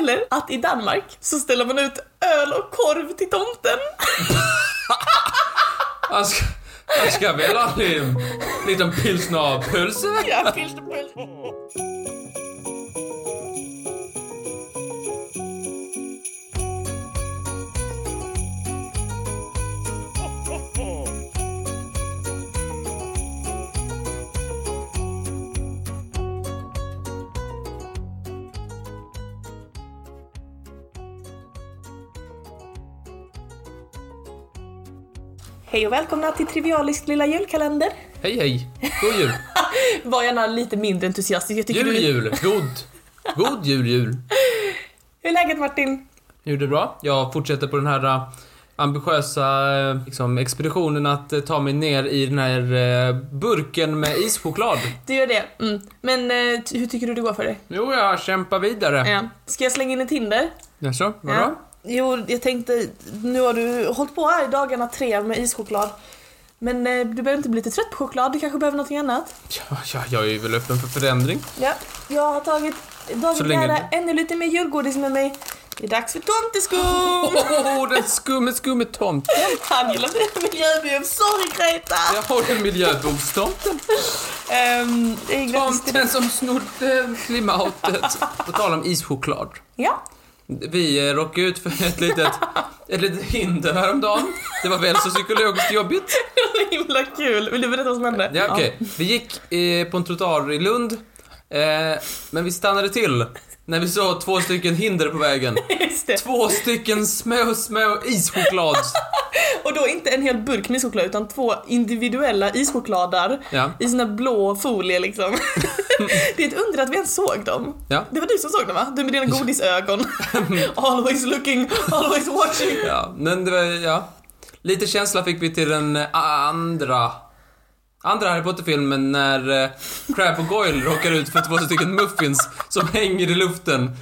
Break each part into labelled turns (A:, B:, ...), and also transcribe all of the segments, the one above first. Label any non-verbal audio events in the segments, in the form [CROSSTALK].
A: Eller att i Danmark så ställer man ut öl och korv till tomten.
B: Han ska, han ska väl ha en liten pilsnerpölse?
A: Ja, pilsnerpuls. Hej och välkomna till Trivialiskt lilla julkalender.
B: Hej hej, god jul.
A: Var gärna lite mindre entusiastisk. Jag tycker
B: Jul
A: du...
B: jul, god. God jul jul.
A: Hur är läget Martin?
B: Jo, det är bra. Jag fortsätter på den här eh, ambitiösa eh, liksom, expeditionen att eh, ta mig ner i den här eh, burken med ischoklad.
A: Du gör det? Mm. Men eh, ty- hur tycker du det går för dig?
B: Jo, jag kämpar vidare.
A: Ja. Ska jag slänga in ett hinder?
B: Jaså, vadå?
A: Ja. Jo, jag tänkte, nu har du hållit på här i dagarna tre med ischoklad. Men eh, du behöver inte bli lite trött på choklad, du kanske behöver någonting annat?
B: Ja, ja, jag är väl öppen för förändring.
A: Ja. Jag har tagit
B: Så
A: David
B: länge
A: nära
B: du-
A: ännu lite mer julgodis med mig. Det är dags för
B: Oh,
A: tomteskum!
B: Åh, den skumme, skumme tomt.
A: Han gillar mina miljöbium, sorry Greta!
B: Jag har en miljöbokstomt.
A: Ehm, det är grattis till
B: Tomten som snodde klimatet. På tal om ischoklad.
A: [LAUGHS] Ja.
B: Vi eh, råkade ut för ett litet, ett litet hinder häromdagen. Det var väl så psykologiskt jobbigt.
A: Himla kul! Vill du berätta vad som hände?
B: Ja, okej. Vi gick eh, på en trottoar i Lund, eh, men vi stannade till när vi såg två stycken hinder på vägen.
A: Ja, [LAUGHS] just det.
B: Två stycken små, små ischoklads.
A: Och då inte en hel burk med ischoklad utan två individuella ischokladar
B: Ja.
A: i såna blå folie liksom. [LAUGHS] det är ett under att vi ens såg dem.
B: Ja.
A: Det var du som såg dem va? Du med dina
B: [LAUGHS]
A: godisögon. always looking, always watching.
B: Ja, men det var, ja. Lite känsla fick vi till den eh, andra Andra Harry Potter-filmen när eh, Crab och Goyle råkar ut för två stycken muffins som hänger i luften.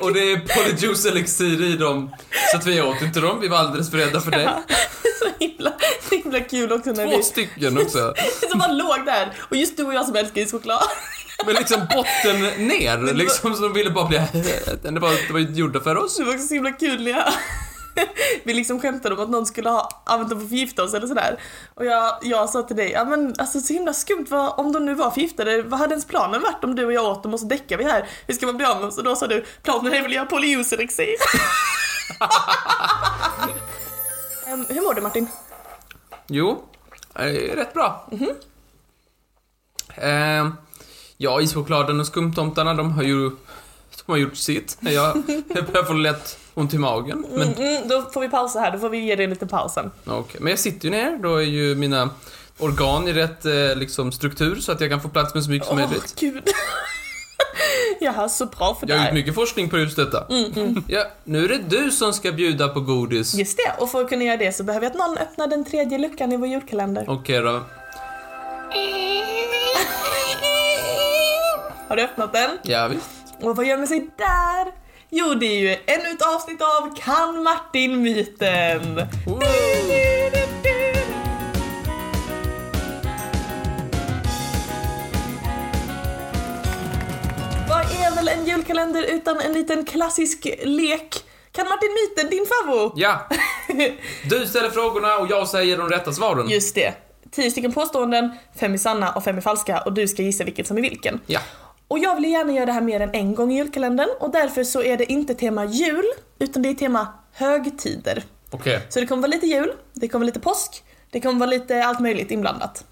B: Och det är polyjuice-elixir i dem. Så att vi åt inte dem, vi var alldeles för rädda för det.
A: [LAUGHS] så himla, så himla kul också när
B: Två
A: vi
B: stycken också.
A: [LAUGHS] som bara låg där och just du och jag som älskar ischoklad.
B: Men liksom botten ner, liksom så de ville bara bli Den var, det var ju gjorda för oss.
A: Det var också så himla kul när jag... [LAUGHS] Vi liksom skämtade om att någon skulle ha använt dem för att förgifta oss eller sådär. Och jag, jag sa till dig, ja men alltså så himla skumt, vad, om de nu var förgiftade, vad hade ens planen varit om du och jag åt dem och så däckar vi här? Hur ska man bli av med dem? Så då sa du, planen är väl att göra [LAUGHS] polyuselexir. Ehm, hur mår du Martin?
B: Jo, eh, rätt bra.
A: Mhm.
B: Eh, ja, ischokladen och skumtomtarna, de har ju de har gjort sitt. Jag, jag börjar få lätt ont i magen. Men,
A: Mm, då får vi pausa här, då får vi ge dig en liten paus sen.
B: okej. men jag sitter ju ner, då är ju mina organ i rätt eh, liksom, struktur så att jag kan få plats med så mycket som
A: Åh
B: möjligt.
A: [LAUGHS] gud. Jaha, så bra för
B: Jag har gjort
A: dig.
B: mycket forskning på just detta.
A: Mm,
B: Ja, nu är det du som ska bjuda på godis.
A: Just det, och för att kunna göra det så behöver jag att någon öppnar den tredje luckan i vår julkalender.
B: Okej då.
A: [LAUGHS] Har du öppnat den?
B: Ja, visst.
A: Och vad gömmer sig där? Jo, det är ju ännu ett avsnitt av Kan Martin-myten.
B: Wow.
A: Vad är väl en julkalender utan en liten klassisk lek? Kan Martin-myten, din favvo?
B: Ja, du ställer frågorna och jag säger de rätta
A: [LAUGHS]
B: svaren.
A: Just det. Tio stycken påståenden, fem är sanna och fem är falska och du ska gissa vilket som är vilken.
B: Ja.
A: Och jag vill ju gärna göra det här mer än en gång i julkalendern och därför så är det inte tema jul utan det är tema högtider.
B: Okej.
A: Så det kommer vara lite jul, det kommer vara lite påsk, det kommer vara lite allt möjligt inblandat.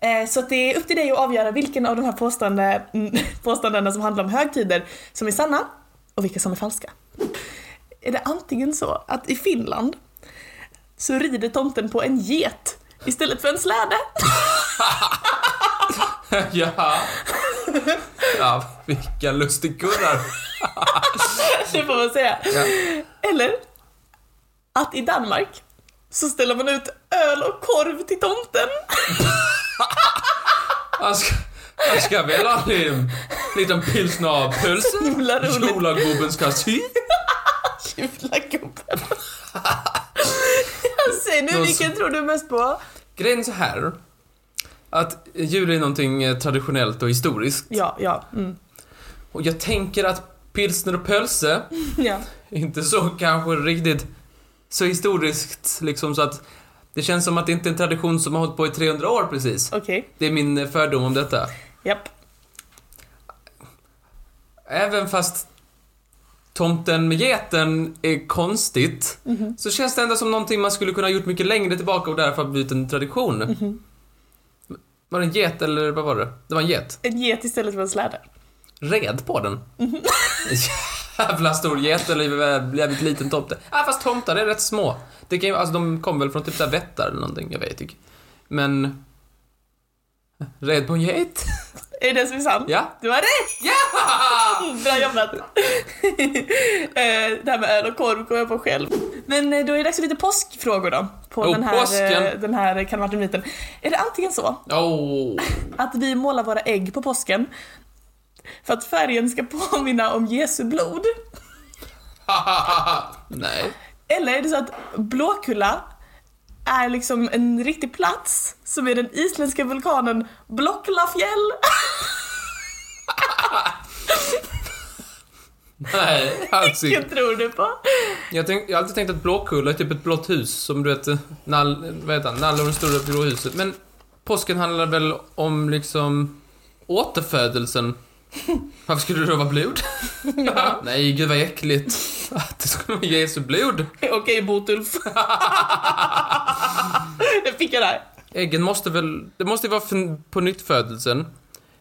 A: Eh, Så att det är upp till dig att avgöra vilken av de här påstående, mm, [LAUGHS] påståendena som handlar om högtider som är sanna och vilka som är falska. Är det antingen så att i Finland så rider tomten på en get istället för en släde?
B: [LAUGHS] Ja. ja, vilka lustigkurrar.
A: [LAUGHS] Det får man säga.
B: Ja.
A: Eller att i Danmark så ställer man ut öl och korv till tomten. [LAUGHS]
B: Han ska, han ska väl ha en liten pilsnerpölse.
A: Himla roligt.
B: [LAUGHS] Jolagubben ska sy.
A: Gula gubben. Säg nu,
B: Någon
A: vilken
B: som-
A: tror du mest på?
B: Grejen är så här. Att jul är någonting eh, traditionellt och historiskt.
A: Ja, ja. Mm.
B: Och jag tänker att pilsner och pölse.
A: Ja.
B: Inte så kanske riktigt så historiskt liksom så att det känns som att det inte är en tradition som har hållit på i 300 år precis.
A: Okej.
B: Det är min eh, fördom om detta.
A: Japp.
B: Även fast tomten med geten är konstigt så känns det ändå som någonting man skulle kunna ha gjort mycket längre tillbaka och därför har blivit en tradition. Var det en get eller vad var det? Det var en get.
A: En get istället för en släde.
B: Red på den. [LAUGHS] Jävla stor get eller en jävligt liten tomte. Ja, fast tomtar är rätt små. Det kan ju, alltså, de kommer väl från typ där vättar eller någonting, jag vet inte. Men... Red på en get?
A: Är det det som är sant?
B: Ja.
A: Du har rätt!
B: Ja!
A: [LAUGHS] Bra jobbat!
B: [LAUGHS]
A: Eh, det här med öl och korv kom jag på själv. Men eh, då är det dags för lite påskfrågor då. På
B: Oh,
A: den här, eh,
B: påsken.
A: den här kan vara myten. Är det antingen så
B: Åh.
A: att vi målar våra ägg på påsken för att färgen ska [LAUGHS] påminna om Jesu blod?
B: [LAUGHS] Nej.
A: Eller är det så att Blåkulla är liksom en riktig plats som är den isländska vulkanen [LAUGHS] Blocklafjäll?
B: Nej, alls inte.
A: Vilken tror du på?
B: Jag, tänk, jag har alltid tänkt att Blåkulla är typ ett blått hus, som du vet, eh, nall, vad heter han, Nallorn står upp i blå huset. Men påsken handlar väl om liksom återfödelsen. Varför skulle det då vara blod? [LAUGHS] Nej, gud vad äckligt. [LAUGHS] Att det skulle vara Jesu blod.
A: [LAUGHS] Okej, Botulf. det fick jag där.
B: Äggen måste väl, det måste ju vara för, på nytt födelsen.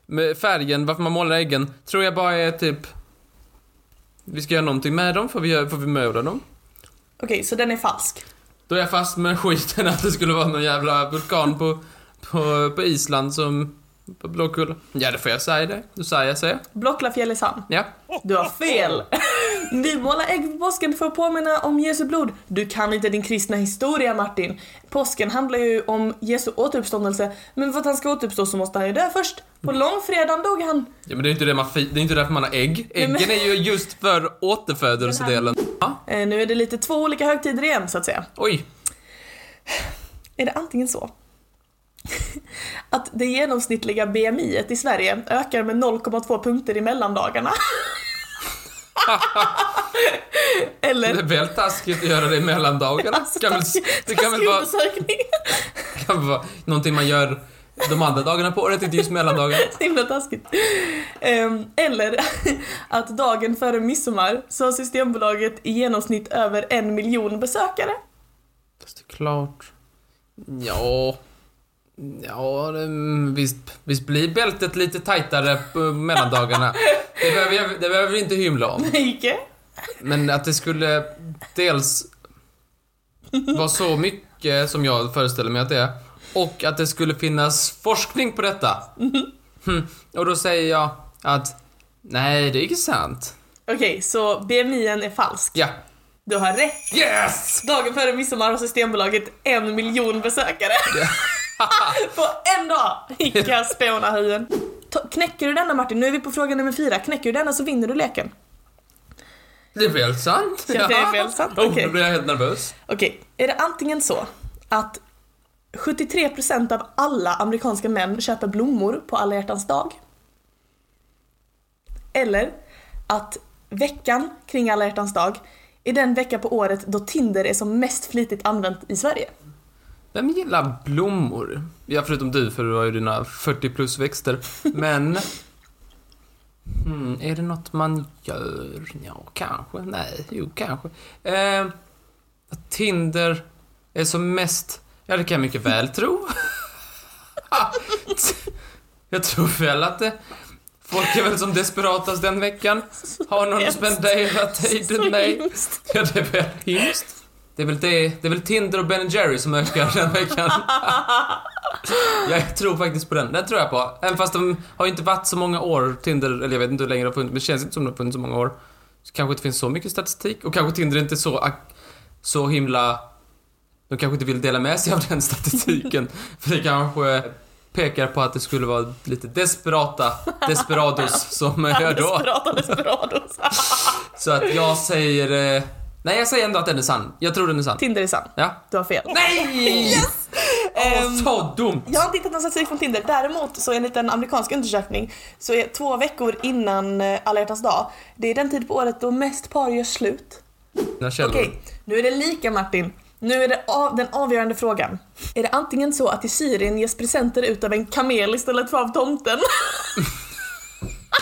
B: Med färgen, varför man målar äggen, tror jag bara är typ... Vi ska göra någonting med dem, får vi, göra- får vi mörda dem?
A: Okej, så den är falsk.
B: Då är jag fast med skiten att det skulle vara någon jävla vulkan på, på, på Island som... På Blåkulla. Ja, det får jag säga det. Då säger jag så.
A: Blocklafjäll är sann.
B: Ja.
A: Du har fel. [LAUGHS] Vi målar ägg på påsken för att påminna om Jesu blod. Du kan inte din kristna historia Martin. Påsken handlar ju om Jesu återuppståndelse, men för att han ska återuppstå så måste han ju dö först. På långfredagen dog han.
B: ja men det är ju inte, det man fi- det är inte därför man har ägg. Äggen
A: men-
B: är ju just för återfödelsedelen. Ja.
A: Eh, nu är det lite två olika högtider igen så att säga.
B: Oj.
A: Är det antingen så [LAUGHS] att det genomsnittliga BMI et i Sverige ökar med 0,2 punkter i
B: [LAUGHS]
A: mellandagarna?
B: Det
A: Eller Alltså,
B: är väl taskigt att göra det i mellandagarna. Det kan väl, det kan väl
A: [LAUGHS]
B: vara,
A: Taskig
B: kan väl vara någonting man gör de andra dagarna på året, inte just mellandagarna.
A: Så himla taskigt. Ehm, Eller [LAUGHS] att dagen före midsommar så har Systembolaget i genomsnitt över en miljon besökare. [LAUGHS]
B: Fast det är klart. Ja. Ja, det- mm, visst, visst blir bältet lite tajtare på mellandagarna. Det behöver, jag, det behöver vi inte hymla om.
A: Ike?
B: Men att det skulle dels vara så mycket som jag föreställer mig att det är och att det skulle finnas forskning på detta. Hm, Och då säger jag att nej, det är inte sant.
A: Okej, så BMI'n är falsk.
B: Ja.
A: Du har rätt.
B: Yes!
A: Dagen före midsommar har Systembolaget en miljon besökare. [LAUGHS] på en dag! Icka spånahyen. Ta- Knäcker du denna Martin, nu är vi på fråga nummer fyra. Knäcker du denna så vinner du leken.
B: Det är väl sant?
A: Ja, det är väl sant.
B: Oh,
A: Okej.
B: Nu blir jag helt nervös.
A: Okej, är det antingen så att 73% av alla amerikanska män köper blommor på alla hjärtans dag? Eller att veckan kring alla hjärtans dag är den vecka på året då Tinder är som mest flitigt använt i Sverige?
B: Vem gillar blommor? Ja, förutom du, för du har ju dina 40 plus växter. Men... Hmm, är det något man gör? Ja, kanske. Nej, jo, kanske. Eh, att Tinder är som mest... Ja, det kan jag mycket väl tro. [LAUGHS] jag tror väl att det... Folk är väl som desperatast den veckan. Har någon
A: hemskt.
B: spenderat tiden?
A: Så
B: Nej.
A: hemskt.
B: [LAUGHS] Ja, det är väl hemskt. Det är väl, det, det är väl Tinder och Ben Jerry som ökar den veckan. jag tror faktiskt på den. Den tror jag på. Även fast de har ju inte varit så många år, Tinder, eller jag vet inte hur länge de har funnits, men det känns inte som de har funnits så många år. Så kanske inte finns så mycket statistik och kanske Tinder inte är så, ak- så himla... De kanske inte vill dela med sig av den statistiken. För det kanske pekar på att det skulle vara lite desperata desperados som gör då.
A: Desperata [LAUGHS] desperados.
B: Så att jag säger... Eh, nej, jag säger ändå att den är sann. Jag tror den är sann.
A: Tinder är sann.
B: Ja.
A: Du har fel.
B: Nej! Yes!
A: Eh, Ehm,
B: Åh, så dumt!
A: Jag har inte hittat någon statistik från Tinder. Däremot så enligt en amerikansk undersökning så är två veckor innan eh, alla hjärtans dag, det är den tid på året då mest par gör slut.
B: Mina källor.
A: Okej, nu är det lika Martin. Nu är det av, den avgörande frågan. Är det antingen så att i Syrien ges presenter ut av en kamel istället för av tomten? [LAUGHS]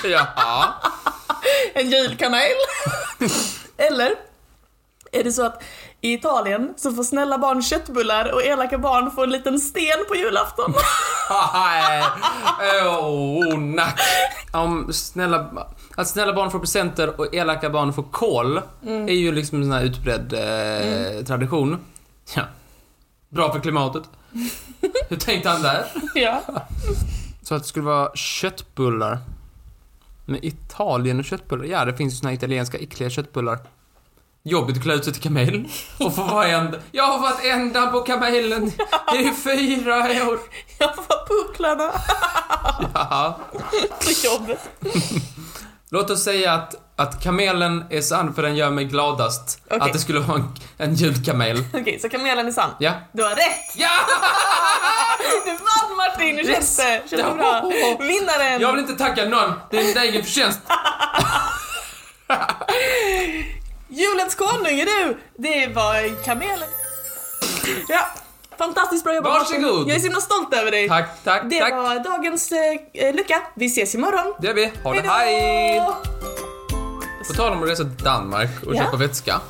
B: Jaha. [LAUGHS]
A: en julkanel? Eller är det så att i Italien så får snälla barn köttbullar och elaka barn får en liten sten på
B: [LAUGHS]
A: julafton?
B: Nej. Åh, Eh, oh, nack. Om snälla, att snälla barn får presenter och elaka barn får kol är ju liksom en sån här utbredd eh, tradition. Ja. Bra för klimatet. Hur tänkte han där?
A: ja.
B: Så att det skulle vara köttbullar. Med Italien och köttbullar? Ja, det finns ju såna här italienska äckliga köttbullar. Jobbigt att klä ut sig till kamel. Och få vara en... Jag har varit ända på kamelen i fyra år.
A: [LAUGHS] Jag får vara pucklarna
B: Jaha.
A: på jobbet.
B: Låt oss säga att, att kamelen är sann för den gör mig gladast.
A: Okej.
B: Att det skulle vara en, en julkamel.
A: Okej, så kamelen är sann.
B: Ja.
A: Du har rätt!
B: Ja!
A: Du vann Martin! Hur känns det? Känns det bra? Vinnaren!
B: Jag vill inte tacka någon. Det är din egen förtjänst.
A: Julens konung är du! Det var kamelen. Ja, fantastiskt bra jobbat Martin.
B: Varsågod.
A: Jag är så himla stolt över dig.
B: Tack, tack,
A: Det
B: tack.
A: var dagens eh, lucka. Vi ses imorgon.
B: Det är vi. Ha det.
A: Hejdå!
B: Hej! På tal om att resa till Danmark och
A: Ja.
B: köpa vätska.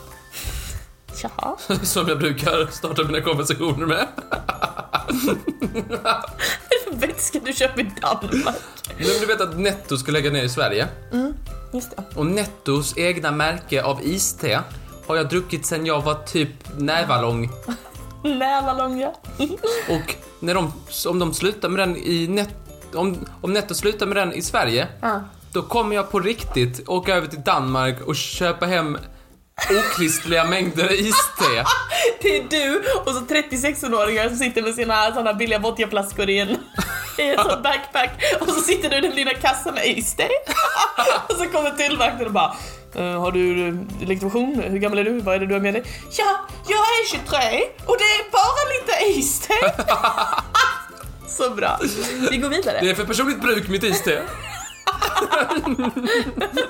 A: [LAUGHS] Tja.
B: Som jag brukar starta mina konversationer med.
A: Vätska du köper i Danmark.
B: Men du vet att Netto ska lägga ner i Sverige.
A: Just det.
B: Och Nettos egna märke av iste har jag druckit sen jag var typ nävalång.
A: Nälalånga.
B: Och när de, om de slutar med den i net, om, om Netto slutar med den i Sverige,
A: Ja.
B: då kommer jag på riktigt åka över till Danmark och köpa hem okristliga mängder iste.
A: [LAUGHS] Det är du och så 36-åringar som sitter med sina såna billiga vodkaflaskor i en [LAUGHS] i en sån backpack och så sitter du i den lilla kassan med iste [LAUGHS] och så kommer tullvakten och bara "Eh, har du eh, legitimation? Hur gammal är du? Vad är det du har med dig? Ja, jag är 23 och det är bara lite iste. [LAUGHS] Så bra. Vi går vidare.
B: Det är för personligt bruk, mitt iste.
A: [LAUGHS]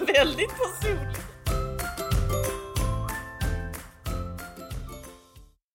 A: Väldigt personligt.